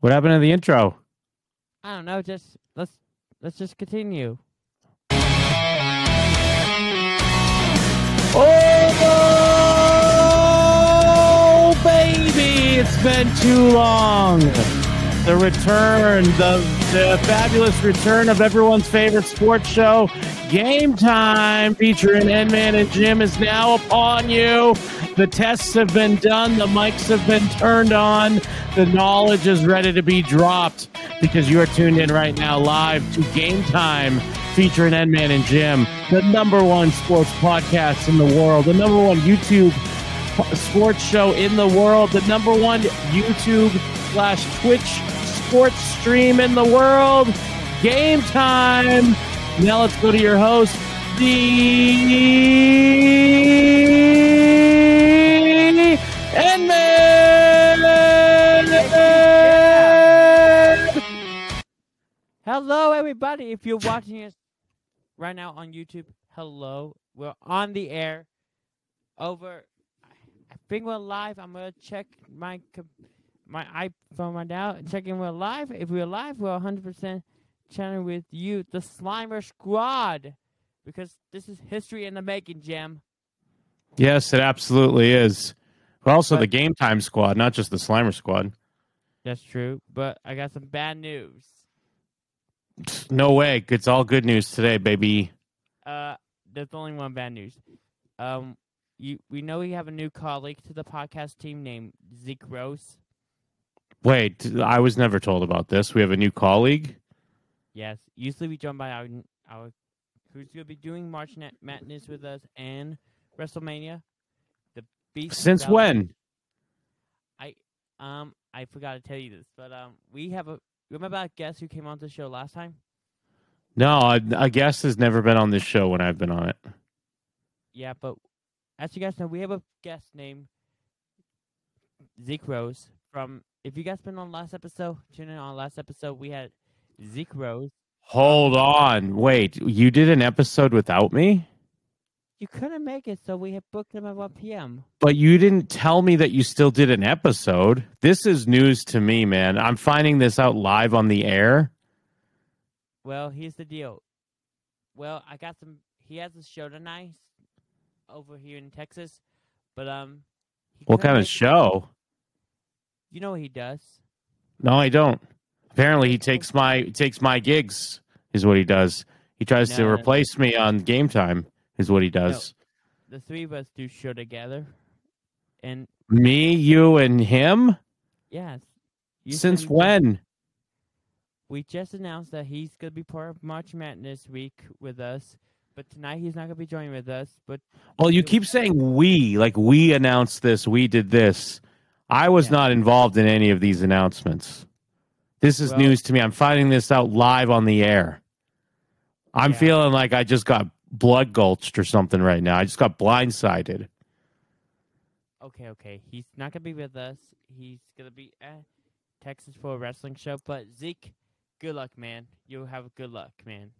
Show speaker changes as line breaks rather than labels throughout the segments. What happened to the intro?
I don't know. Just let's let's just continue.
Oh, baby, it's been too long. The return, the, the fabulous return of everyone's favorite sports show, Game Time, featuring Edman and Jim, is now upon you. The tests have been done, the mics have been turned on, the knowledge is ready to be dropped because you are tuned in right now live to Game Time, featuring Edman and Jim, the number one sports podcast in the world, the number one YouTube sports show in the world, the number one YouTube slash Twitch sports stream in the world. Game time. Now let's go to your host, the Enman.
Hello, everybody. If you're watching us right now on YouTube, hello. We're on the air. Over. I think we're live. I'm gonna check my com- my iPhone right now. Checking we're live. If we're live, we're 100% channel with you, the Slimer Squad, because this is history in the making, Jim.
Yes, it absolutely is. But also
But-
the game time squad, not just the Slimer squad.
That's true. But I got some bad news.
No way. It's all good news today, baby.
Uh, there's only one bad news. Um, you we know we have a new colleague to the podcast team named Zeke Rose.
Wait, I was never told about this. We have a new colleague.
Yes, usually we joined by our our who's gonna be doing March Net Madness with us and WrestleMania. The Beast.
Since
Bella-
when?
Um, I forgot to tell you this, but um, we have a remember that guest who came on the show last time.
No, I, I guess has never been on this show when I've been on it.
Yeah, but as you guys know, we have a guest named Zeke Rose from. If you guys been on last episode, tune in on last episode. We had Zeke Rose.
Hold on. Wait, you did an episode without me?
You couldn't make it, so we had booked him at 1 p.m.
But you didn't tell me that you still did an episode. This is news to me, man. I'm finding this out live on the air.
Well, here's the deal. Well, I got some. He has a show tonight over here in Texas, but um. he
What
couldn't
kind of
make it.
show?
You know what he does.
No, I don't. Apparently, he takes my takes my gigs. Is what he does. He tries to
No, no, no.
replace me on game time. Is what he does.
The three of us do show together, and
Me, you, and him.
yes. you
Since
said you-
when?
We just announced that he's gonna be part of March Madness week with us, but tonight he's not gonna be joining with us. But
Well, you
It
keep
was-
saying we, like we announced this, we did this. I was
Yeah.
not involved in any of these announcements. This is
Well-
news to me. I'm finding this out live on the air. I'm
Yeah.
feeling like I just got blood gulched or something right now. I just got blindsided.
okay, okay, he's not gonna be with us. He's gonna be at Texas for a wrestling show. But Zeke, good luck, man. You'll have good luck, man.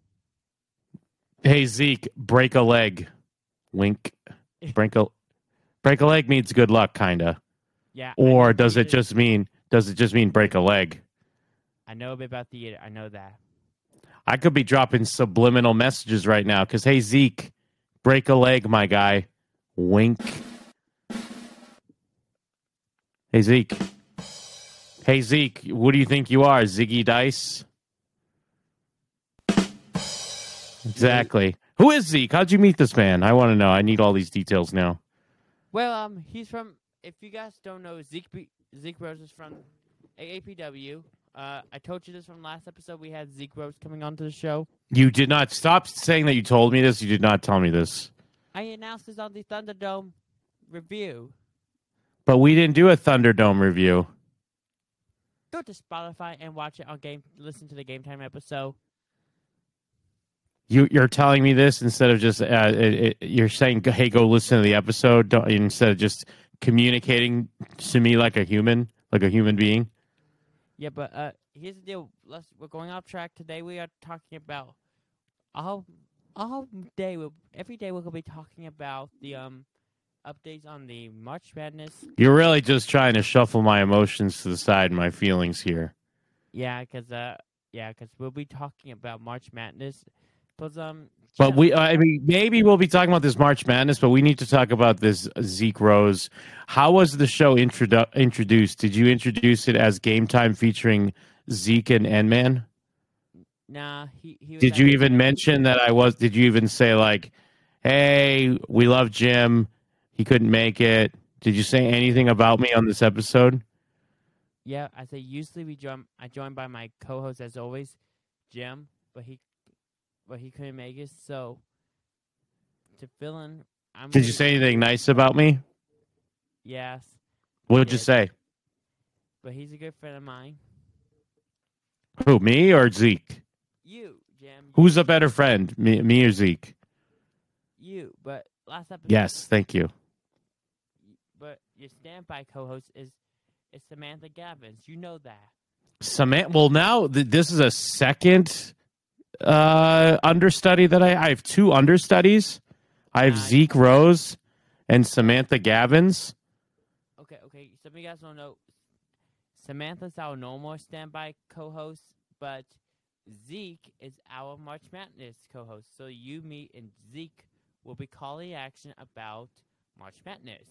Hey Zeke, break a leg. Wink. Break a break a leg means good luck, kinda.
Yeah. I know
Or does it
theater-
just mean does it just mean break a leg?
I know a bit about theater. I know that.
I could be dropping subliminal messages right now because, hey, Zeke, break a leg, my guy. Wink. Hey, Zeke. Hey, Zeke, what do you think you are, Ziggy Dice? Exactly. Who is Zeke? How'd you meet this man? I want to know. I need all these details now.
Well, um, he's from. If you guys don't know, Zeke B- Zeke Rose is from AAPW. Uh, I told you this from last episode. We had Zeke Rose coming onto the show.
You did not stop saying that you told me this. You did not tell me this.
I announced this on the Thunderdome review.
But we didn't do a Thunderdome review.
Go to Spotify and watch it on game. Listen to the game time episode.
You, you're telling me this instead of just uh, it, it, you're saying, "Hey, go listen to the episode," don't, instead of just communicating to me like a human, like a human being.
Yeah, but uh, here's the deal. Let's we're going off track today. We are talking about all all day. We'll, every day we're gonna be talking about the um updates on the March Madness.
You're really just trying to shuffle my emotions to the side, and my feelings here.
Yeah, cause uh, yeah, cause we'll be talking about March Madness. But um,
But
yeah,
we, uh, I mean, maybe we'll be talking about this March Madness, but we need to talk about this Zeke Rose. How was the show introdu- introduced? Did you introduce it as Game Time featuring Zeke and N Man?
nah, he he. Was
Did
at
you
the-
even mention that I was? Did you even say like, "Hey, we love Jim. He couldn't make it." Did you say anything about me on this episode?
Yeah, I say usually we join. I joined by my co-host as always, Jim, but he, but he couldn't make it. So to fill in, I'm.
Did you
gonna-
say anything nice about me?
yes?
What'd you
Yes.
say?
But he's a good friend of mine.
Who, me or Zeke?
You, Jim. you,
Who's a better friend, me, me or Zeke?
You, but last episode.
Yes, thank you.
But your standby co-host is, is Samantha Gavins. You know that.
Samantha. Well, now th- this is a second uh, understudy that I, I have two understudies. I have
Nice.
Zeke Rose and Samantha Gavins.
Okay, okay. Some of you guys don't know. Samantha's our normal standby co-host, but Zeke is our March Madness co-host. So you, me, and Zeke will be calling action about March Madness.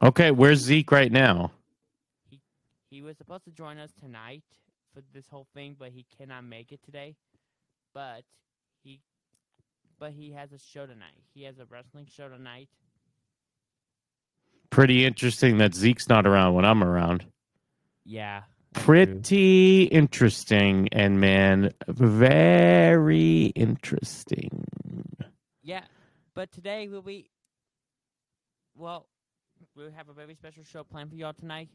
Okay, where's Zeke right now?
He was supposed to join us tonight for this whole thing, but he cannot make it today. But he, but he has a show tonight. He has a wrestling show tonight.
Pretty interesting that Zeke's not around when I'm around.
Yeah.
Pretty interesting, and man, very interesting.
Yeah, but today we'll be. Well, we have a very special show planned for y'all tonight.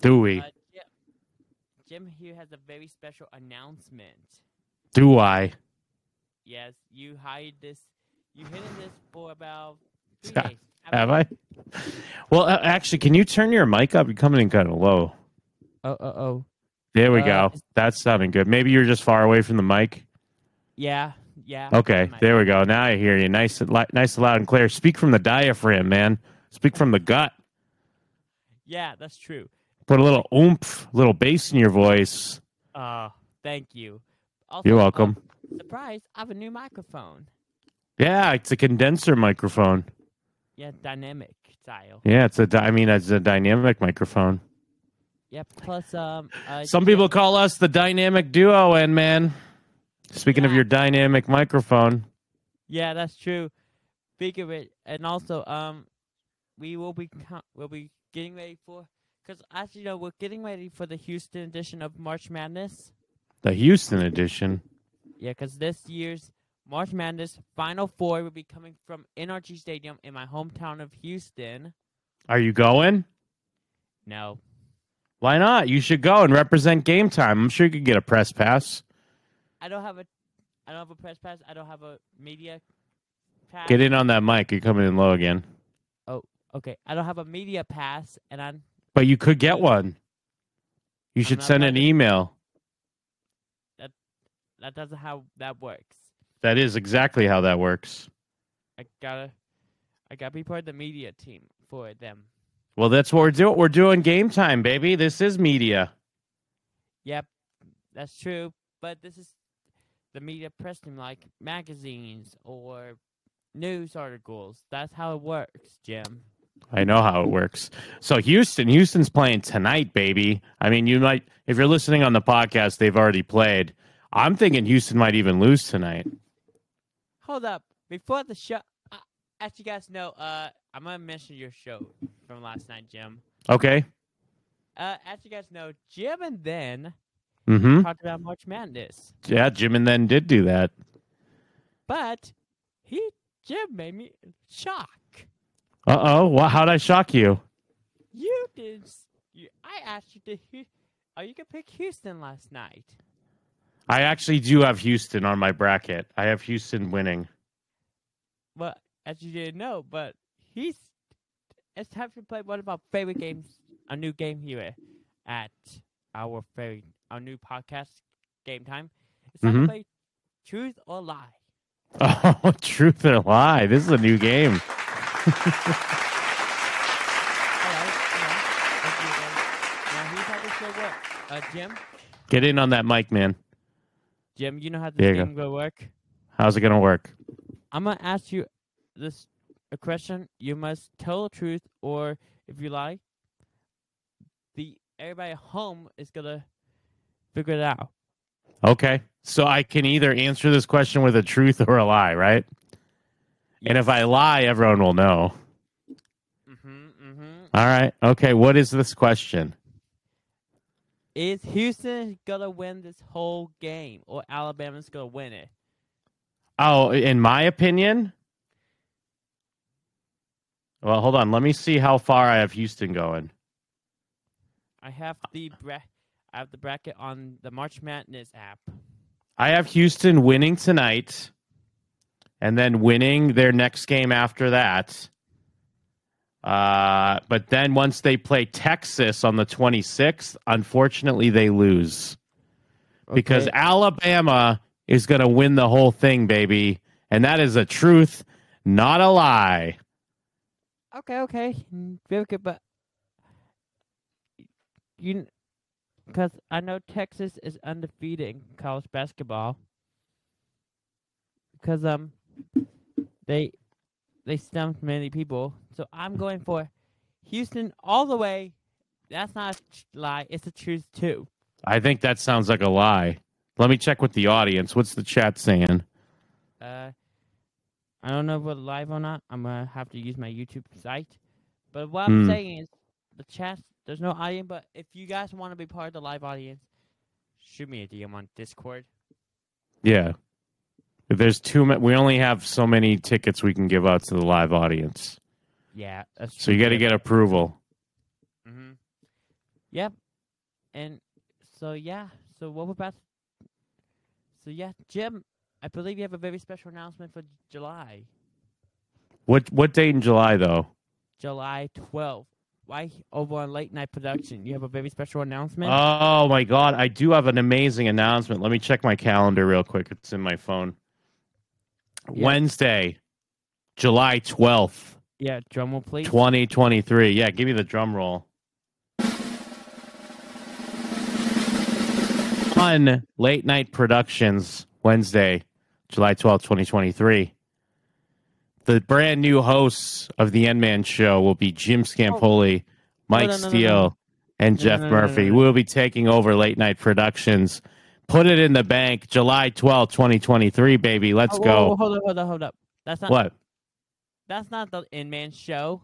Do we?
Uh, Jim, Jim here has a very special announcement.
Do I?
Yes, you hide this. You hidden this for about three days.
Have I? Well, uh, actually, can you turn your mic up? You're coming in kind of low.
Oh, oh, oh.
There we
Uh,
go. That's sounding good. Maybe you're just far away from the mic.
Yeah, yeah.
Okay,
Mike.
there we go. Now I hear you. Nice, and li- nice, and loud and clear. Speak from the diaphragm, man. Speak from the gut.
Yeah, that's true.
Put a little oomph, little bass in your voice.
Uh, thank you. Also,
You're
uh,
welcome.
surprise! I have a new microphone.
Yeah, it's a condenser microphone.
Yeah, dynamic style.
Yeah, it's a. Di- I mean, it's a dynamic microphone.
Yeah. Plus, um, uh,
Some
Jim-
people call us the dynamic duo, and man, speaking of
Yeah.
your dynamic microphone,
Yeah, that's true. Speak of it, and also, um, we will be co- we'll be getting ready for because as you know, we're getting ready for the Houston edition of March Madness.
the Houston edition.
Yeah, because this year's March Madness Final Four will be coming from NRG Stadium in my hometown of Houston.
Are you going?
No,
Why not? You should go and represent game time. I'm sure you could get a press pass.
I don't have a, I don't have a press pass. I don't have a media pass.
Get in on that mic. You're coming in low again.
Okay, I don't have a media pass, and I'm
But you could get one. You
I'm
should
not
send an
budget.
email.
that doesn't how that works.
That is exactly how that works.
I gotta, I gotta be part of the media team for them.
Well, that's what we're doing. We're doing game time, baby. This is media.
Yep, that's true. But this is the media press team, like magazines or news articles. That's how it works, Jim.
I know how it works. So Houston, Houston's playing tonight, baby. I mean, you might if you're listening on the podcast, they've already played. I'm thinking Houston might even lose tonight.
Hold up, before the show, uh, as you guys know, uh, I'm gonna mention your show from last night, Jim.
Okay.
Uh, as you guys know, Jim and then
Mm-hmm.
talked about March Madness,
Yeah, Jim and then did do that.
but he Jim made me shocked.
Uh oh. Well, how'd I shock you?
You did. s- You, I asked you to. Hu- Oh, you could pick Houston last night.
I actually do have Houston on my bracket. I have Houston winning.
Well, as you didn't know, but he's. It's time to play one of our favorite games. A new game here at our favorite, our new podcast game time. It's time
Mhm.
to play Truth or Lie.
Oh, truth or lie. This is a new game.
All right. all right, let's do it then. Now, here's how this show works. Uh, Jim,
Get in on that mic, man.
Jim, you know how
There
this
you go.
game will work.
How's it gonna work?
I'm gonna ask you this a question. You must tell the truth, or if you lie, the everybody at home is gonna figure it out.
Okay. So I can either answer this question with a truth or a lie, right? And if I lie, everyone will know.
Mm-hmm, mm-hmm.
All right. Okay. What is this question?
Is Houston gonna win this whole game, or Alabama's gonna win it?
Oh, in my opinion. Well, hold on. Let me see how far I have Houston going.
I have the bra- I have the bracket on the March Madness app.
I have Houston winning tonight and then winning their next game after that. Uh, but then once they play Texas on the 26th, unfortunately, they lose. because
Okay.
Alabama is going to win the whole thing, baby. And that is a truth, not a lie.
okay, okay, mm, very good, but you, because I know Texas is undefeated in college basketball. Because um, they they stumped many people, so I'm going for Houston all the way. That's not a tr- lie; it's a truth too.
I think that sounds like a lie. Let me check with the audience. What's the chat saying?
Uh, I don't know if we're live or not. I'm gonna have to use my YouTube site. But what I'm
Hmm.
saying is, the chat, there's no audience. But if you guys want to be part of the live audience, shoot me a DM on Discord.
Yeah. If There's too many. We only have so many tickets we can give out to the live audience.
Yeah, that's
So you got to get approval.
Mm-hmm. Yep. And so yeah. So what we're about? So yeah, Jim, I believe you have a very special announcement for July,
What what date in July though?
July 12th. Why over on late night production? You have a very special announcement.
Oh my god, I do have an amazing announcement. Let me check my calendar real quick. It's in my phone.
Yeah.
Wednesday, July 12th.
yeah, drum roll, please.
2023. Yeah, give me the drum roll. On Late Night Productions, Wednesday, July twelfth, 2023. The brand new hosts of The End Man Show will be Jim Scampoli, Mike
Oh. no, no, no, no.
Steele, and
No,
Jeff
no, no, no,
Murphy.
no, no.
We'll be taking over Late Night Productions. Put it in the bank, July twelfth, 2023, baby. Let's
Oh, whoa,
go.
whoa, hold up, hold up, hold up. That's not
What?
that's not the In Man show.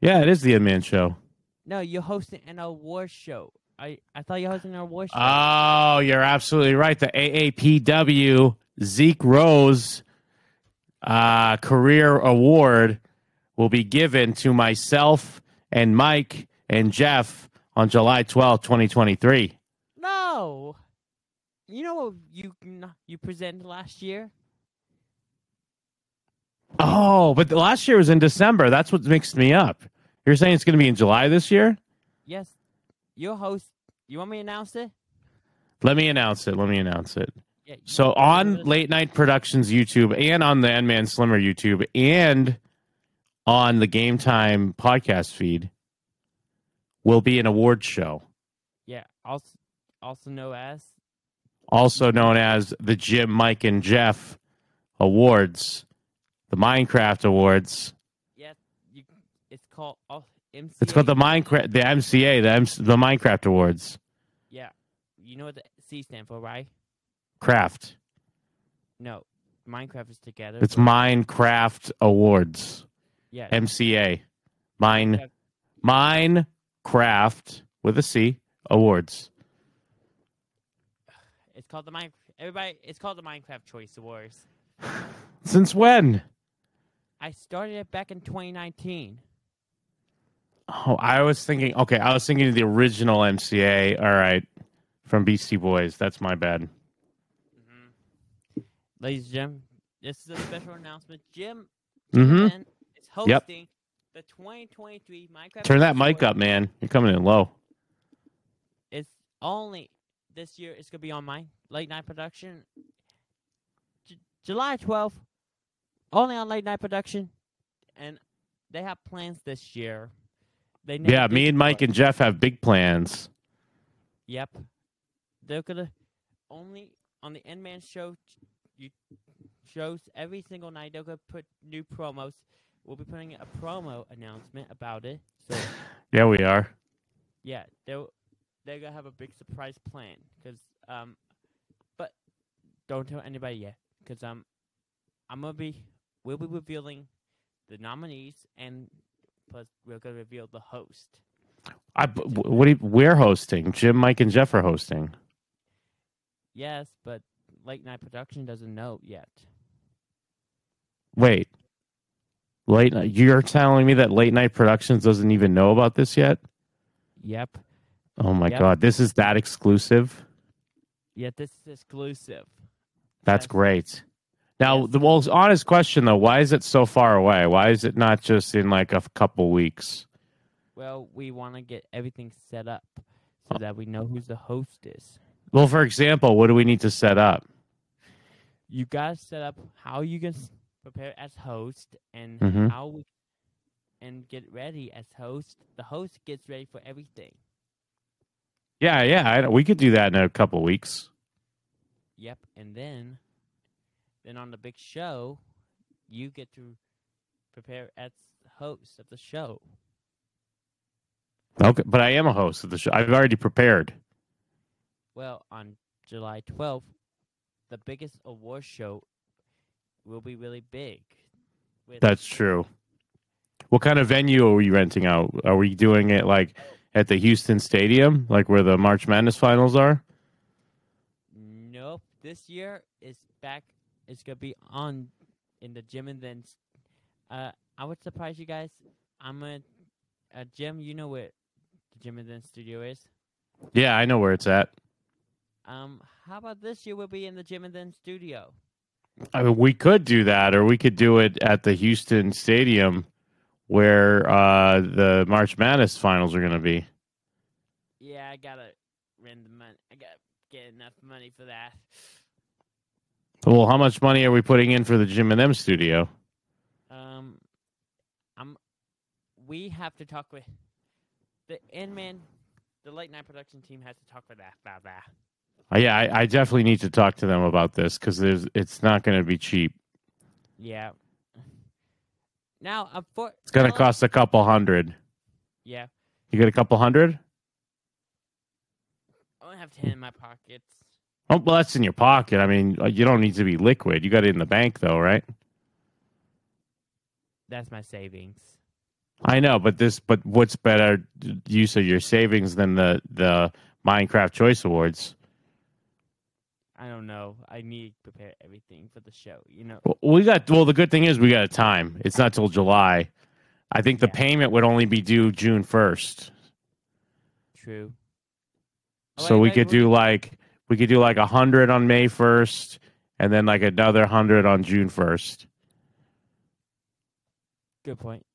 Yeah, it is The End Man Show.
No, you're hosting an award show. I I thought you were hosting an award show.
Oh, you're absolutely right. The AAPW Zeke Rose uh, Career Award will be given to myself and Mike and Jeff on July twelfth, 2023.
no. You know what you n- you presented last year?
Oh, but the last year was in December. That's what mixed me up. You're saying it's going to be in July this year?
Yes. Your host you want me to announce it?
Let me announce it. Let me announce it.
Yeah. you-
So
Uh,
on Late Night Productions YouTube and on the End Man Slimmer YouTube and on the Game Time podcast feed will be an award show,
Yeah, also also known as
also known as the Jim, Mike, and Jeff Awards, the Minecraft Awards.
you it's called oh, MC
It's called the Minecraft, the MCA, the MC, the Minecraft Awards.
Yeah. You know what the C stand for, right?
Craft.
No. Minecraft is together.
It's Minecraft Awards.
yeah.
MCA. Mine. Minecraft with a C. Awards.
It's called the Minecraft. Everybody, it's called the Minecraft Choice Awards.
Since when?
I started it back in 2019.
Oh, I was thinking. Okay, I was thinking of the original MCA. All right, from Beastie Boys. That's my bad.
Mm-hmm. Ladies and gentlemen, this is a special announcement. Jim
Mm-hmm.
Chen is hosting the 2023 Minecraft.
Turn that
Choice
mic up,
Awards.
man. You're coming in low.
It's only this year. It's gonna be on my late night production, J- July 12th. Only on late night production, and they have plans this year. They never
Yeah,
did
me and
before.
Mike and Jeff have big plans.
Yep. they're gonna only on the N Man show ch- you shows every single night they're gonna put new promos. We'll be putting a promo announcement about it. So
Yeah, we are.
yeah, they w- they're gonna have a big surprise plan because um, but don't tell anybody yet because um, I'm gonna be we'll be revealing the nominees and plus we're gonna reveal the host.
I b- w- what do you, we're hosting. Jim, Mike, and Jeff are hosting.
Yes, but late night production doesn't know yet.
Wait, late night. You're telling me that late night productions doesn't even know about this yet?
Yep.
Oh my
Yep.
god, this is that exclusive.
Yet this is exclusive.
That's
Yes.
great. Now,
Yes.
the well, honest question though, why is it so far away? Why is it not just in like a f- couple weeks?
Well, we want to get everything set up so that we know who the host is.
Well, for example, what do we need to set up?
You gotta set up how you can s- prepare as host and
Mhm.
how we and get ready as host. The host gets ready for everything.
Yeah, yeah, I, we could do that in a couple weeks.
Yep, and then then on the big show, you get to prepare as host of the show.
Okay, but I am a host of the show. I've already prepared.
Well, on July 12th, the biggest award show will be really big. With
That's true. What kind of venue are we renting out? Are we doing it like at the Houston Stadium, like where the March Madness finals are?
nope, this year is back. It's gonna be on in the gym, and then s- uh, I would surprise you guys. I'm a, a gym. You know where the gym and then studio is.
Yeah, I know where it's at.
Um, how about this year? We'll be in the gym and then studio.
I mean, we could do that, or we could do it at the Houston Stadium where uh, the March Madness finals are going to be.
Yeah, I gotta rent the money. I gotta get enough money for that.
Well, how much money are we putting in for the Jim and M studio?
Um, I'm. We have to talk with the end man. The late night production team has to talk with that. Blah, blah.
Uh, yeah, I, I definitely need to talk to them about this because there's it's not going to be cheap.
Yeah. Now, um, for
It's going to
tell-
cost a couple hundred.
Yeah,
You get a couple hundred?
I only have ten in my pockets.
Oh, well, that's in your pocket. I mean, uh, you don't need to be liquid. You got it in the bank, though, right?
That's my savings.
I know, but this, but what's better use of your savings than the the Minecraft Choice Awards?
I don't know. I need to prepare everything for the show. You know.
Well, We got well. The good thing is we got a time. It's not till July. I think the
Yeah.
payment would only be due June first,
True. Oh,
so
wait,
we
wait,
could
wait.
do like we could do like a hundred on May first, and then like another hundred on June first.
Good point.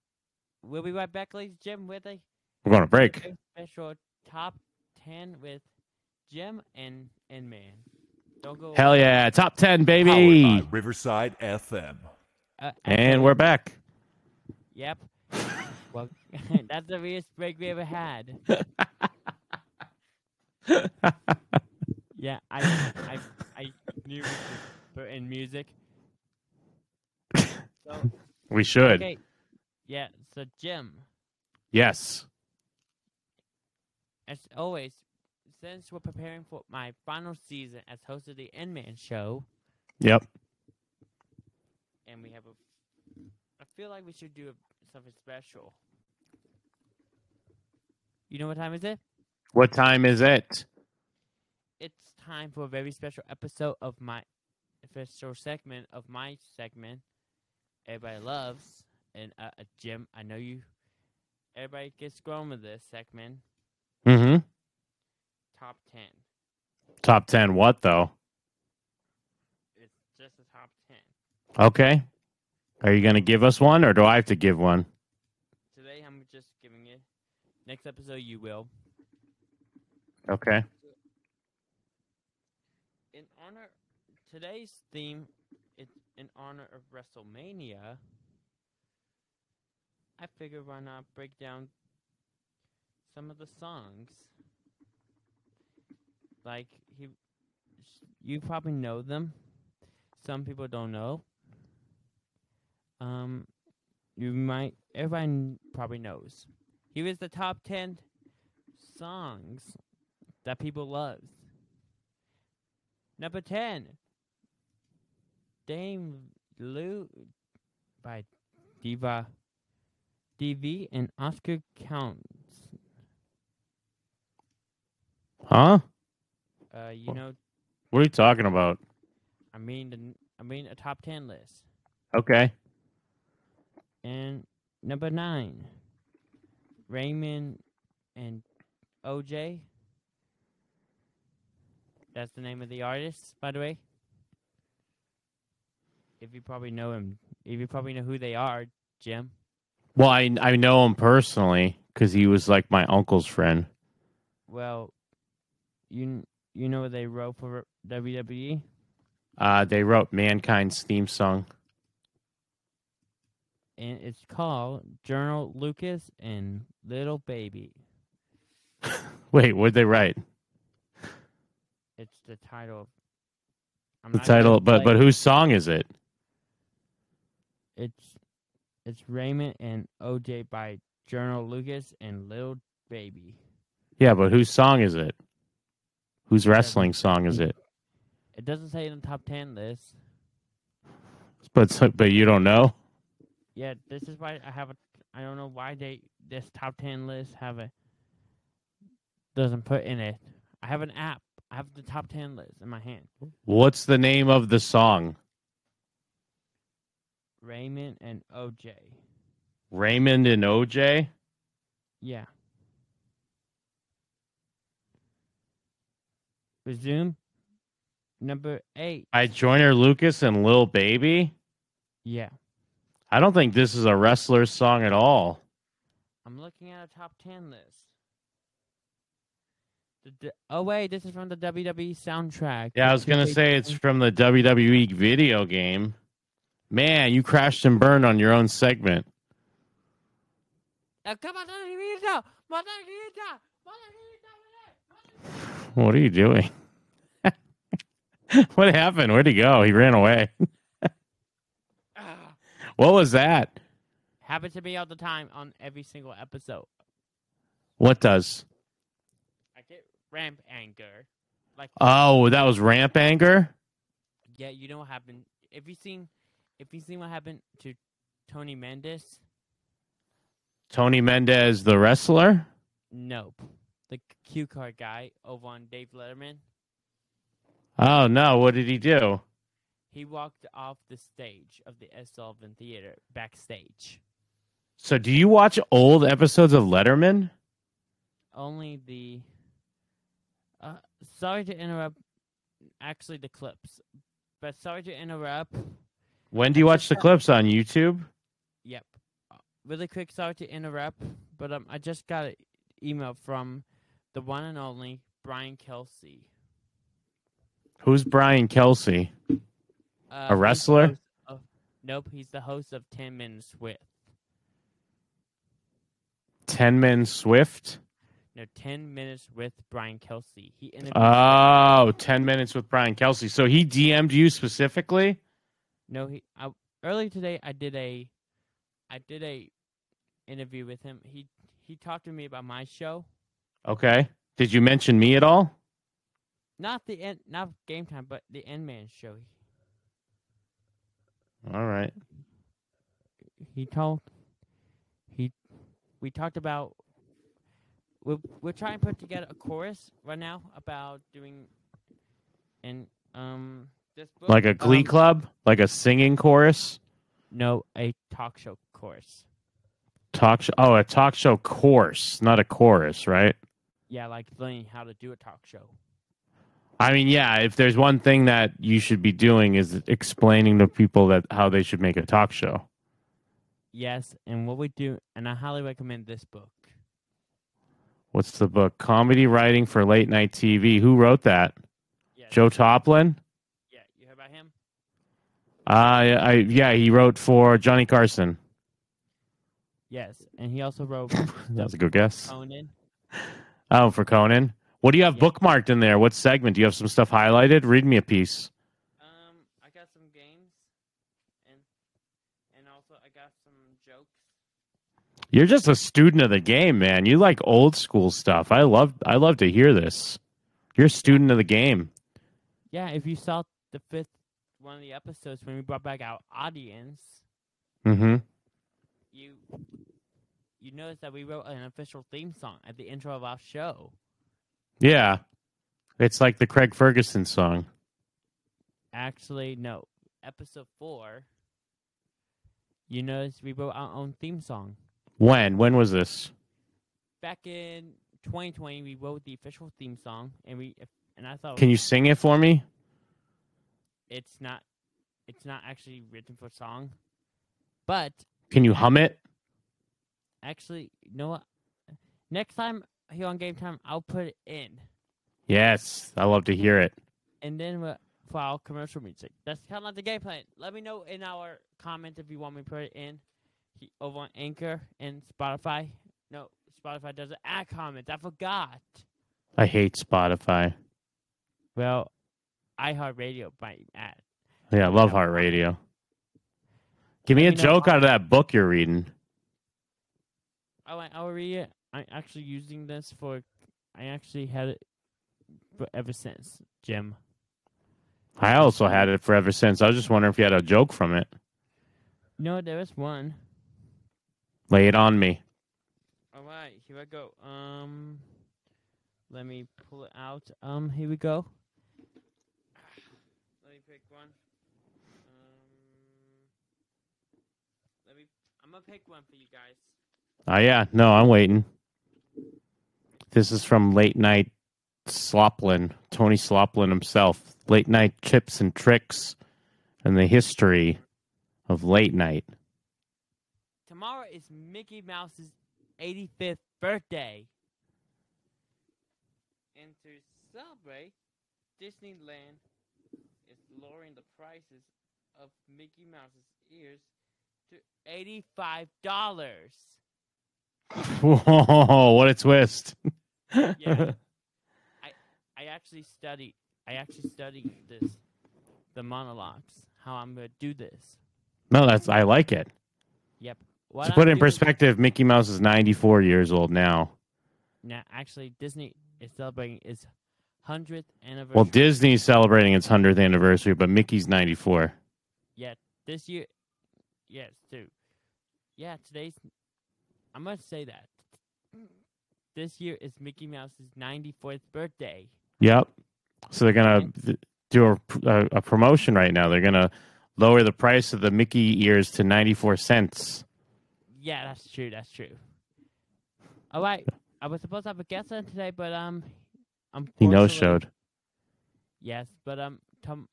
We'll be right back, ladies and gentlemen, with a
We're going to break.
very special top ten with Jim and and man. Don't go.
Hell yeah, top ten,
Powered
baby!
by Riverside FM.
Uh,
And
actually,
we're back.
Yep. well, that's the weirdest break we ever had. yeah, I, I, I knew we should put in music. So,
We should.
okay. Yeah. So Jim,
Yes.
as always, since we're preparing for my final season as host of the Endman show,
Yep.
and we have a, I feel like we should do a, something special. You know what time is it?
What time is it?
it's time for a very special episode of my special segment of my segment everybody loves and uh, uh, jim i know you everybody gets grown with this segment
Mm-hmm.
top 10
Top ten. What though?
it's just the top 10
Okay. Are you going to give us one, or do I have to give one?
today i'm just giving it next episode you will
Okay.
in honor today's theme is in honor of WrestleMania. I figure why not break down some of the songs. Like he, you probably know them. Some people don't know. Um, you might. Everyone probably knows. He was the top ten songs that people love. Number ten, Dame Lou by Diva DV and Oscar Counts.
Huh?
Uh, you know,
What are you talking about?
I mean, the, I mean a top ten list.
Okay.
And number nine, Raymond and OJ. That's the name of the artist, by the way. If you probably know him, if you probably know who they are, Jim.
Well, I, I know him personally because he was like my uncle's friend.
Well, you kn- you know what they wrote for E? WWE.
Uh, they wrote Mankind's theme song.
and it's called Journal Lucas and Little Baby.
Wait, what'd they write?
It's the title. of- I'm
The
not gonna
title, but
play
but
it.
whose song is it?
It's it's Raymond and OJ by Journal Lucas and Little Baby.
Yeah, but whose song is it? Whose wrestling song is it?
It doesn't say in the top ten list.
But but you don't know.
Yeah, this is why I have a. I don't know why they this top ten list have a doesn't put in it. I have an app. I have the top ten list in my hand.
What's the name of the song?
Raymond and OJ.
Raymond and OJ.
Yeah. Resume. Number eight.
I Joyner Lucas and Lil Baby.
Yeah.
I don't think this is a wrestler's song at all.
I'm looking at a top 10 list. The, d oh, wait. This is from the WWE soundtrack.
Yeah, I was gonna say it's from the WWE video game. Man, you crashed and burned on your own segment. What are you doing? what happened? Where'd he go? He ran away. What was that?
Ah. Happens to me all the time on every single episode.
What does?
I get ramp anger. Like,
Oh, that was ramp anger.
Yeah, you know what happened. If you seen, if you seen what happened to Tony Mendes,
Tony Mendez, the wrestler.
nope. The cue card guy over on Dave Letterman,
Oh no, what did he do?
he walked off the stage of the S. Sullivan Theater backstage.
So, do you watch old episodes of Letterman?
Only the. Uh, sorry to interrupt. Actually, the clips, but sorry to interrupt.
When do you watch the clips on YouTube?
Yep. Uh, Really quick, sorry to interrupt, but um, I just got an email from the one and only Brian Kelsey.
Who's Brian Kelsey?
Uh,
A
he's the
wrestler?
host of- nope, he's the host of Ten Minutes with
Ten Men Swift.
no Ten Minutes with Brian Kelsey. He interviewed
Oh, 10 minutes with Brian Kelsey. So he DM'd you specifically?
no he I, earlier today. I did a I did a interview with him. He he talked to me about my show,
Okay. Did you mention me at all?
not the end, not Game Time, but the End Man show.
All right.
He, he told he we talked about. We're, we're trying to put together a chorus right now about doing and um this book,
Like a glee
um,
club? Like a singing chorus?
No, a talk show course.
Talk show. Oh, a talk show course, not a chorus, right?
Yeah, like learning how to do a talk show.
I mean, yeah, if there's one thing that you should be doing is explaining to people that how they should make a talk show.
Yes, and what we do, and I highly recommend this book.
What's the book? Comedy Writing for Late Night TV. Who wrote that?
Yeah,
Joe Toplin?
Yeah, you heard about him?
Uh, I, yeah, he wrote for Johnny Carson.
Yes, and he also wrote
That was a good guess.
Conan.
Oh, for Conan. What do you have
Yeah.
bookmarked in there? What segment? Do you have some stuff highlighted? Read me a piece.
Um, I got some games, and and also I got some jokes.
You're just a student of the game, man. You like old school stuff. I love I love to hear this. You're a student of the game.
Yeah, if you saw the fifth one of the episodes when we brought back our audience,
Mm-hmm.
you you noticed that we wrote an official theme song at the intro of our show.
Yeah. It's like the Craig Ferguson song.
Actually, no, episode four. You noticed we wrote our own theme song.
When? When was this?
Back in 2020, we wrote the official theme song, and we and I thought
Can you sing it for me?
it's not it's not actually written for song, but
Can you hum it?
actually, you know what? Next time here on Game Time, I'll put it in.
Yes. I love to hear it.
and then we for our commercial music. That's kind of like the game plan. Let me know in our comments if you want me to put it in he- over on Anchor and Spotify. No, Spotify doesn't add comments. I forgot.
I hate Spotify.
Well, iHeartRadio might add.
Yeah, I love Heart Radio. Give me a
Let me know
joke
why.
out of that book you're reading.
I went, Oh, I'll read it. I'm actually using this for. I actually had it for ever since, Jim.
I also had it forever since. I was just wondering if you had a joke from it.
No, there is one.
Lay it on me.
All right, here I go. Um, let me pull it out. Um, here we go. Let me pick one. Um, let me. I'm gonna pick one for you guys.
Oh yeah, no, I'm waiting. This is from late night Sloplin, Tony Sloplin himself. Late night chips and tricks and the history of late night.
Tomorrow is Mickey Mouse's 85th birthday, and to celebrate, Disneyland is lowering the prices of Mickey Mouse's ears to eighty-five dollars.
Whoa, what a twist.
Yeah. I actually studied. I actually studied this, the monologues, how I'm gonna do this.
no, that's I like it.
Yep. What
to put
I'm
it in
doing-
perspective, Mickey Mouse is 94 years old now.
Now, actually, Disney is celebrating its hundredth anniversary.
Well, Disney's celebrating its 100th anniversary, but Mickey's 94.
this year, yes, too. Yeah, today's. I must say that this year is Mickey Mouse's 94th birthday.
Yep. So they're gonna th- do a, a, a promotion right now. They're gonna lower the price of the Mickey ears to ninety four cents.
Yeah, that's true. That's true. All right, I was supposed to have a guest on today, but um, I'm
He no showed.
Yes, but um, tom-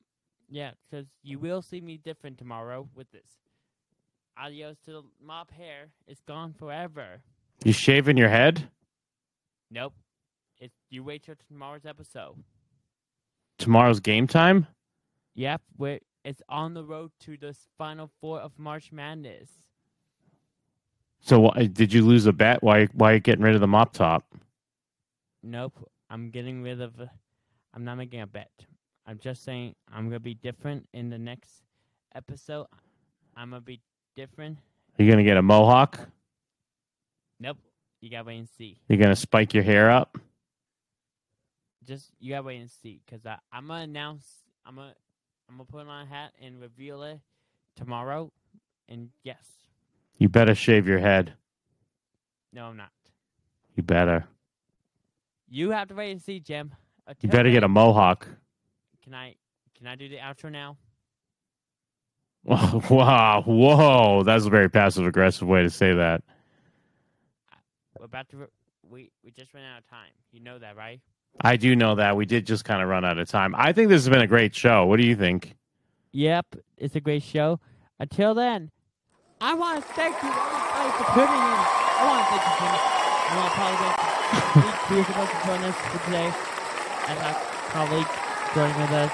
yeah, 'cause you will see me different tomorrow with this. Adios to the mop hair. It's gone forever.
You shaving your head
Nope. It, you wait till tomorrow's episode.
tomorrow's game time?
Yep, we it's on the road to the final four of March Madness.
So why, did you lose a bet? Why why you getting rid of the mop top?
Nope, I'm getting rid of. uh, I'm not making a bet. I'm just saying I'm gonna be different in the next episode. I'm gonna be different.
Are you gonna get a mohawk?
Nope, you gotta wait and see.
You're gonna spike your hair up?
just you gotta wait and see because I'm gonna announce I'm gonna I'm gonna put on a hat and reveal it tomorrow. And yes,
You better shave your head.
no, I'm not.
You better.
You have to wait and see, Jim.
You better get a mohawk.
Can I can I do the outro now?
wow, whoa, that's a very passive aggressive way to say that.
We're about to re- we we just ran out of time. You know that, right?
I do know that we did just kind of run out of time. I think this has been a great show. What do you think?
Yep, it's a great show. Until then, I want to thank you everybody for tuning in. I want to thank you, Jimmy. I want to apologize to Nick, who was supposed to join us for today, and our colleague joining with us.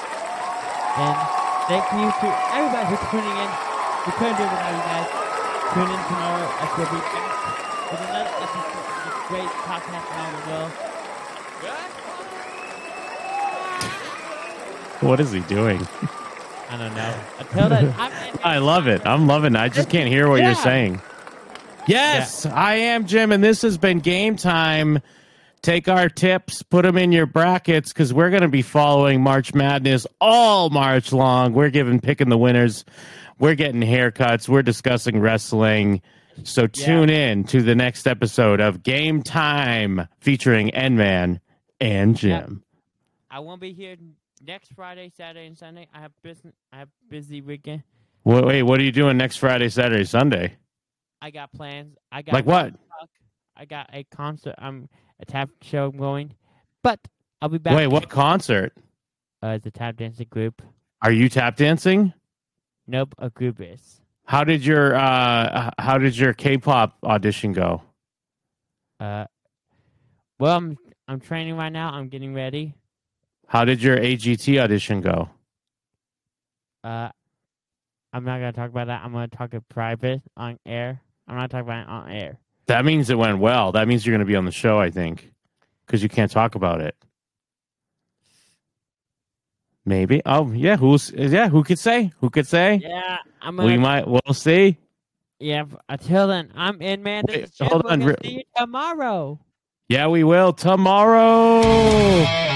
And thank you to everybody who's tuning in. We couldn't do it without you guys. Tune in tomorrow as we'll be back with another episode of this great podcast around the world. Goodbye.
What is he doing?
I don't know. Until then, I'm,
I love it. I'm loving it. I just can't hear what
Yeah.
you're saying. Yes, I am Jim, and this has been game time. Take our tips, put them in your brackets, because we're going to be following March Madness all March long. We're giving picking the winners. We're getting haircuts. We're discussing wrestling. So
Yeah.
tune in to the next episode of Game Time featuring N Man and Jim.
I won't be here next Friday, Saturday, and Sunday. I have business. I have busy weekend.
Wait, wait, what are you doing next Friday, Saturday, Sunday?
I got plans. I got
Like what?
I got a concert. I'm a tap show I'm going, but I'll be back.
Wait, what concert?
Uh, it's a tap dancing group.
Are you tap dancing?
Nope, a group is.
How did your uh h- how did your K-pop audition go?
Uh, well, I'm I'm training right now. I'm getting ready.
How did your AGT audition go?
Uh, I'm not gonna talk about that. I'm gonna talk it private on air. I'm not talking about it on air.
That means it went well. That means you're going to be on the show, I think, cuz you can't talk about it. Maybe. Oh, yeah, who's yeah, who could say? Who could say?
Yeah, I'm gonna.
we might we'll see.
yeah, until then, I'm in, man. This
Wait,
is Jim.
hold
We're
on,
gonna
re-
See you tomorrow.
Yeah, we will tomorrow.